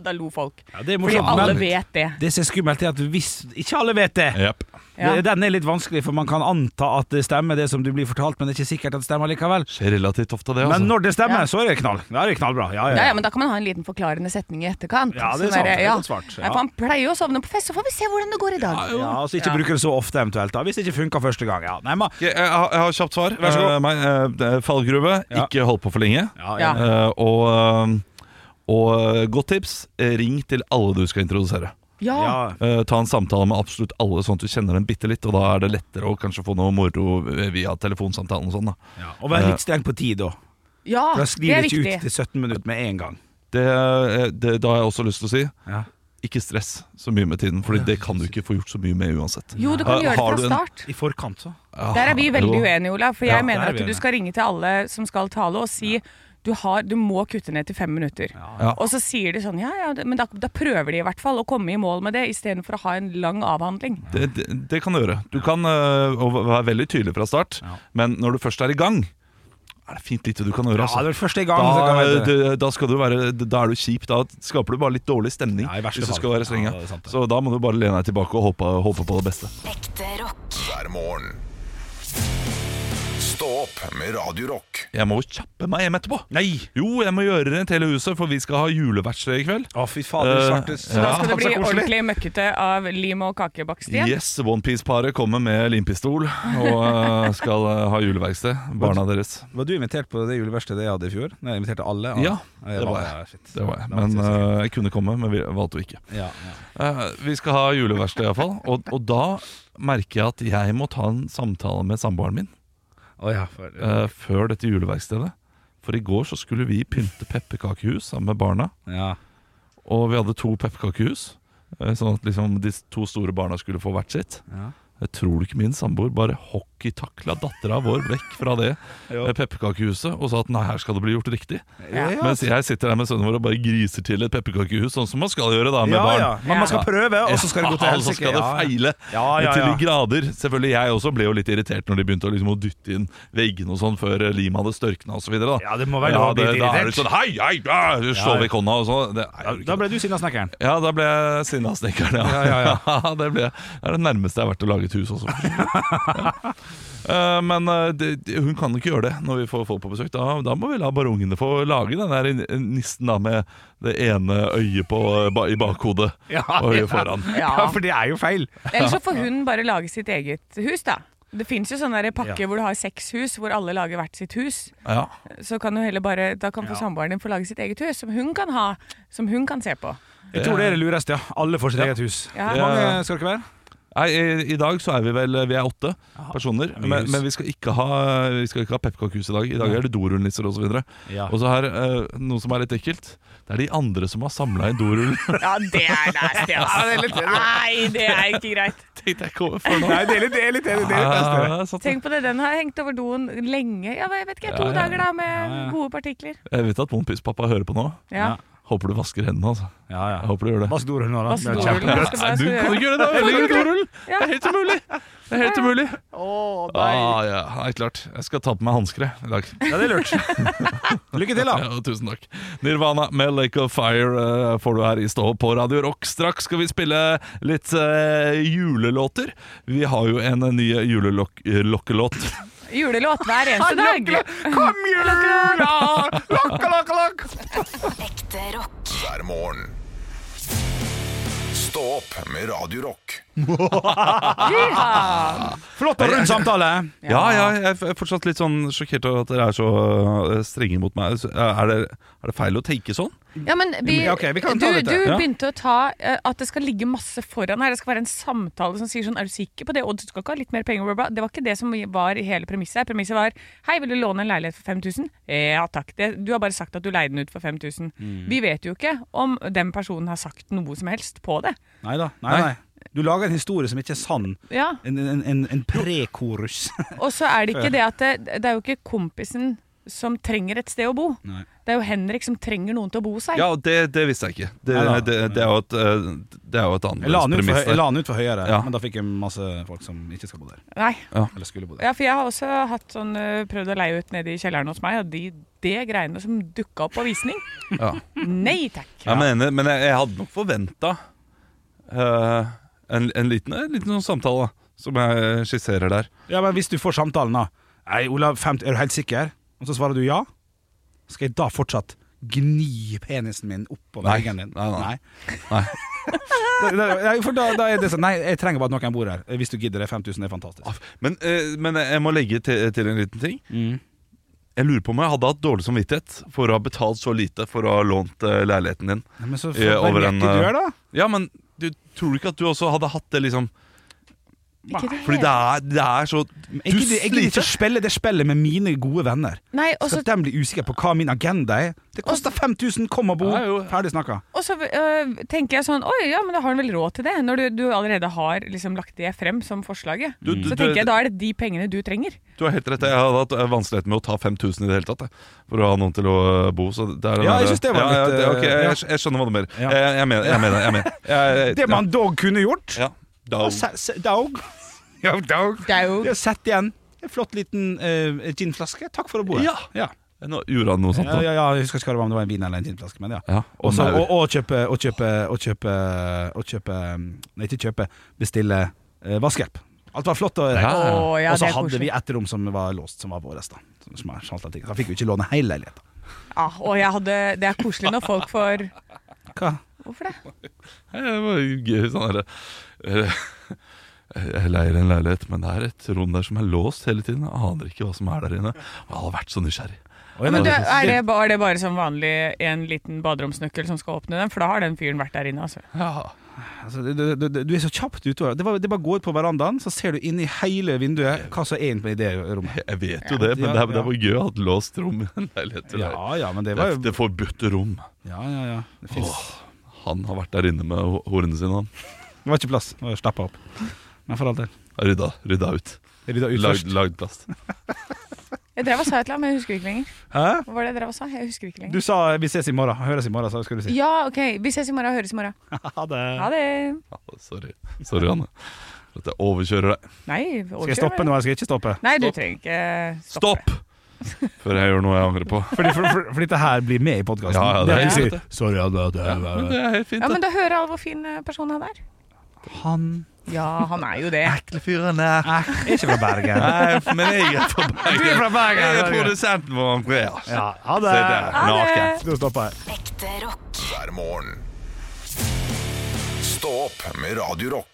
da lo folk. Ja, det er Fordi morsomt, alle men- vet det. Det som er skummelt, er at hvis Ikke alle vet det. Jep. Ja. Det- Den er litt vanskelig, for man kan anta at det stemmer, det som du blir fortalt, men det er ikke sikkert at det stemmer likevel. Skjer relativt ofte, det. Men Altså. når det stemmer, Ja. så er det knall. Da er det knallbra. Ja, ja, Ja, ja. ja, men Da kan man ha en liten forklarende setning i etterkant. Sånn Ja, det er Som sant. Det er godt svart, Nei, ja. for Han pleier jo å sovne på fest, så får vi se hvordan det går i dag. ja, altså Ikke Ja. bruke det så ofte, eventuelt. da Hvis det ikke funka første gang. Ja, Nei, ma Jeg, eh, jeg, har- jeg har kjapt svar. Vær så god. Eh, meg, eh, det er fallgruve, Ja. ikke hold på for lenge. ja, Ja. enig. Eh, og, eh, og eh, godt tips, eh, ring til alle du skal introdusere. Ja, ja. Eh, ta en samtale med absolutt alle, sånn at du kjenner dem bitte litt. Og da er det lettere å kanskje få noe moro via telefonsamtalen og sånn. da ja. Og vær litt streng på tid, da. ja Da Ah, det sklir er det ikke ut viktig. til 17 minutter med en gang. det, eh, det, Da har jeg også lyst til å si Ja. ikke stress så mye med tiden, Fordi det kan du ikke få gjort så mye med uansett. Jo, du kan Eh, gjøre det har fra du en- start. I forkant, så. Der er vi veldig jo. uenige, Olav. For jeg Ah, Ja, der mener er vi at du uenige. skal ringe til alle som skal tale, og si du, har, du må kutte ned til fem minutter. Ja. Og så sier de sånn ja ja, det- men da, da prøver de i hvert fall å komme i mål med det, istedenfor å ha en lang avhandling. Det, det, det kan du gjøre. Du kan eh, og være veldig tydelig fra start, men når du først er i gang, er det fint lite du kan gjøre. Ja, Altså. det er første gang. så kan Da, jeg vite det. det- da, skal du være, da er du kjip. Da skaper du bare litt dårlig stemning. Ja, i verste hvis du fall. skal være streng, Ja, ja. det er sant det. Så da må du bare lene deg tilbake og håpe, håpe på det beste. Ekte rock. hver morgen. Stå opp med Radio Rock. Jeg må jo kjappe meg hjem etterpå. Nei! Jo, jeg må gjøre rent hele huset, for vi skal ha juleverksted i kveld. Å, fy fader, Eh, svarte ja. Da skal så det bli koselig. ordentlig møkkete av lim og kakebakst igjen. Yes, Onepiece-paret kommer med limpistol og eh, skal eh, ha juleverksted. Barna deres. Var du invitert på det juleverkstedet jeg hadde i fjor? Nei, jeg inviterte alle. Ja, jeg det var jeg. Det var jeg. Men eh, jeg kunne komme, men vi valgte å ikke. ja, ja. Eh, vi skal ha juleverksted iallfall. Og, og da merker jeg at jeg må ta en samtale med samboeren min. Å, ja, for, eh, før dette juleverkstedet. For i går så skulle vi pynte pepperkakehus sammen med barna. ja. Og vi hadde to pepperkakehus, eh, sånn at liksom de to store barna skulle få hvert sitt. Ja. Jeg tror ikke min samboer bare hockeytakla dattera vår vekk fra det Jo. eh, pepperkakehuset og sa at nei, her skal det bli gjort riktig. Ja, ja. Mens jeg sitter der med sønnen vår og bare griser til et pepperkakehus, sånn som man skal gjøre da med ja, barn. ja. Men man skal prøve, og så skal det gå til Ja, helsike. så skal det Ja, ja. feile Ja, ja, til ja. de grader. Selvfølgelig, jeg også ble jo litt irritert når de begynte å, liksom, å dytte inn veggene og sånn før eh, limet hadde størkna osv. Ja, det må være lov å bli litt Da er irritert. det sånn Hei, hei, ja, du Ja. slår vekk hånda og sånn. Det er jo ikke Da det. ble du sinna snekkeren. Ja, da ble jeg sinna snekkeren, ja. Ja, ja, det, ble, det er det nærmeste jeg har vært å lage et hus også. ja. Eh, Men eh, det, det- hun kan ikke gjøre det når vi får folk på besøk. Da, da må vi la bare ungene få lage den der nissen da med det ene øyet på, eh, ba- i bakhodet og øyet foran. Ja. for det er jo feil. Eller så får hun bare lage sitt eget hus, da. Det fins jo sånne der pakker hvor du har seks hus, hvor alle lager hvert sitt hus. Ja. Så kan du heller bare, Da kan få samboeren din få lage sitt eget hus, som hun kan ha, som hun kan se på. Jeg tror det er det lureste, ja. Alle får sitt eget hus. Ja. Hvor mange skal dere være? Nei, i, I dag så er vi vel Vi er åtte personer, men, hus. men vi skal ikke ha Vi skal ikke ha pepperkakehus i dag. I dag er det dorullnisser osv. Ja. Og så her, eh, noe som er litt ekkelt. Det er de andre som har samla inn dorull. Ja, det er nasty, ass. Nei, det er ikke greit. Tenkte jeg ikke over for nå. Nei, det er litt, det er litt, det er litt, det er litt best, dere. Ja, sant det. Tenk på det, den har hengt over doen lenge. Ja, hva- jeg vet ikke, to Ja, ja, ja. dager da med gode partikler. Jeg vet at Monpiss-pappa hører på nå. Ja. Håper du vasker hendene, altså. Ja, Jeg ja. håper du gjør det. Vask dorullen nå, da. Vask Det er dorullen. kjempe- Jeg skal Nei, bare du gjøre kan det. ikke gjøre det! Jeg velger dorull! Det er helt umulig! Det er helt umulig. nei. Ah, ja, nei, klart. Jeg skal ta på meg hansker i dag. Ja, det er lurt. Lykke til, da. Ja, tusen takk. Nirvana med Lake of Fire eh, får du her i stå på Radio Rock. Straks skal vi spille litt eh, julelåter. Vi har jo en eh, ny eh, julelokkelåt. Julelåt hver eneste dag. Kom jula! Lokk, lokk, lokk! Ekte rock. hver morgen. Stå opp med Radio Rock. Ah. Flott og rund samtale. Ja, ja, jeg er fortsatt litt sånn sjokkert over at dere er så eh, strenge mot meg. Så, eh, Er det, er det feil å tenke sånn? Ja, men vi, Ja, ok, vi kan ta du, dette. du Ja. begynte å ta eh, at det skal ligge masse foran her. Det skal være en samtale som sier sånn Er du sikker på det? Odd, du skal ikke ha litt mer penger? bla, bla, bla». Det var ikke det som var i hele premisset. her. Premisset var Hei, vil du låne en leilighet for 5000? Ja takk. Det, du har bare sagt at du leide den ut for 5000. Vi vet jo ikke om den personen har sagt noe som helst på det. Nei da. Nei, nei. Du lager en historie som ikke er sann. Ja, En, en, en, en prekorus. Og så er det ikke det at det, det er jo ikke kompisen som trenger et sted å bo. Nei. Det er jo Henrik som trenger noen til å bo seg. Ja, det, det visste jeg ikke. Det, Nei da. det, det er jo et, eh, det er jo et Jeg la annerledes den ut for, premiss. jeg der. la den ut for høyere, Ja. men da fikk jeg masse folk som ikke skal bo der. Nei. Eller skulle bo der. Ja, for jeg har også hatt sånn, øh, prøvd å leie ut nede i kjelleren hos meg, og de, de greiene som dukka opp på visning Ja. Nei takk. Jeg mener, men jeg, jeg hadde nok forventa en, en liten, en liten sånn samtale som jeg skisserer der. Ja, men hvis du får samtalen da Nei, Olav, 50, er du helt sikker? Og så svarer du ja Skal jeg da fortsatt gni penisen min oppover Nei, veggen din? nei, nei. Nei. Nei. da, da, ja, for da, da er det sånn Nei, jeg trenger bare at noen bor her Hvis du gidder det, 5000 er fantastisk Men, eh, men jeg må legge til, til en liten ting. Mm. Jeg lurer på om jeg hadde hatt dårlig samvittighet for å ha betalt så lite for å ha lånt eh, leiligheten din. Nei, Men så Eh, over farverket en, du eh, gjør da Ja, men du, tror du ikke at du også hadde hatt det, liksom? Ikke det Fordi det hele- er, det er så jeg Du gidder, jeg gidder ikke sliter! spille det spillet med mine gode venner Nei, og Så så- at de blir usikre på hva min agenda er Det koster 5000, kom og bo Ja, jo. Ferdig snakket og så øh, tenker jeg sånn Oi, ja, men da har han vel råd til det. Når du, du allerede har liksom lagt det frem som forslaget. Du- du- så du- tenker jeg da er det de pengene du trenger. Du har helt rett, jeg hadde hatt eh, vanskeligheter med å ta 5000 i det hele tatt. jeg, For å ha noen til å eh, bo. Så det er den Ja, jeg der- synes det var ja, litt, ja, det- ok, eh, ja. jeg, jeg skjønner hva du mener. Ja. Jeg, jeg mener jeg mener, jeg mener. Jeg, jeg, Det man dog kunne gjort ja. Da- Og se- se- Dog Ja, dog Det er jo Vi har sett igjen en flott liten eh, ginflaske. Takk for å bo her. Ja. Ja. Nå gjorde han noe sånt. Ja, da. ja, ja, jeg husker ikke hva det var, om det var en vin eller en ginflaske. Men ja. Ja, og Også, maur. og, og kjøpe Og kjøpe Og kjøpe, og kjøpe Nei, ikke kjøpe. Bestille eh, vaskehjelp. Alt var flott. Og, Ja. Å, ja, og så det er hadde vi koselig. ett rom som var låst, som var vårt. Da Som- som er sånn at- Da fikk vi ikke låne hele leiligheten. Ja, og jeg hadde Det er koselig når folk får Hva? Hvorfor det? Hei, Det var jo gøy sånn der, eh, Jeg leier en leilighet, men det er et rom der som er låst hele tiden. Jeg aner ikke hva som er der inne. Og Jeg har vært så nysgjerrig. Og en Men av du, de- er det, ba- er det bare som vanlig en liten baderomsnøkkel som skal åpne den? For da har den fyren vært der inne, altså. altså, du, du, du, du er så kjapt utover. Det, var, det bare går ut på verandaen, så ser du inn i hele vinduet hva som er inne i det rommet. Jeg vet jo det, men det, Ja, er- det var gøy å ha et låst rom i en leilighet. til deg. Ja, ja, men det Det var er jo det forbudte rom. Ja, ja, ja. Det finnes Han har vært der inne med ho- horene sine, han. Det var ikke plass. Det var Stappa opp. Men for all del. Har Rydda, rydda ut. Rydda ut Lagd, først. lagd plast. Jeg drev og sa et eller annet, men jeg husker ikke lenger. Hæ? Hva var det jeg drev og sa? Jeg husker ikke lenger. Du sa 'vi ses i morgen'. Høres i morgen, sa skulle du si. Ja, OK. Vi ses i morgen. Høres i morgen. Ha det. Ha det. Ja, Sorry, Sorry Anne. For at jeg overkjører deg. Nei, Skal jeg stoppe nå, eller skal jeg ikke stoppe? Nei, du Stopp. trenger ikke Stopp! Før jeg gjør noe jeg angrer på. Fordi, for, for, fordi det her blir med i podkasten. Ja, ja, det det er er helt sier, Sorry, Anna. Det er, Men det er helt fint. Ja, det. men da hører alle hvor fin eh, person han er. Han Ja, han er jo det. Ekle fyren der. er ikke fra Bergen. Nei, men jeg er fra Du er Bergen. fra Bergen. Jeg er herregud. produsenten vår, Andreas. Ja, ha Se der, det. naken. Nå stopper jeg. Ekte rock. hver morgen. Stå opp med Radio Rock.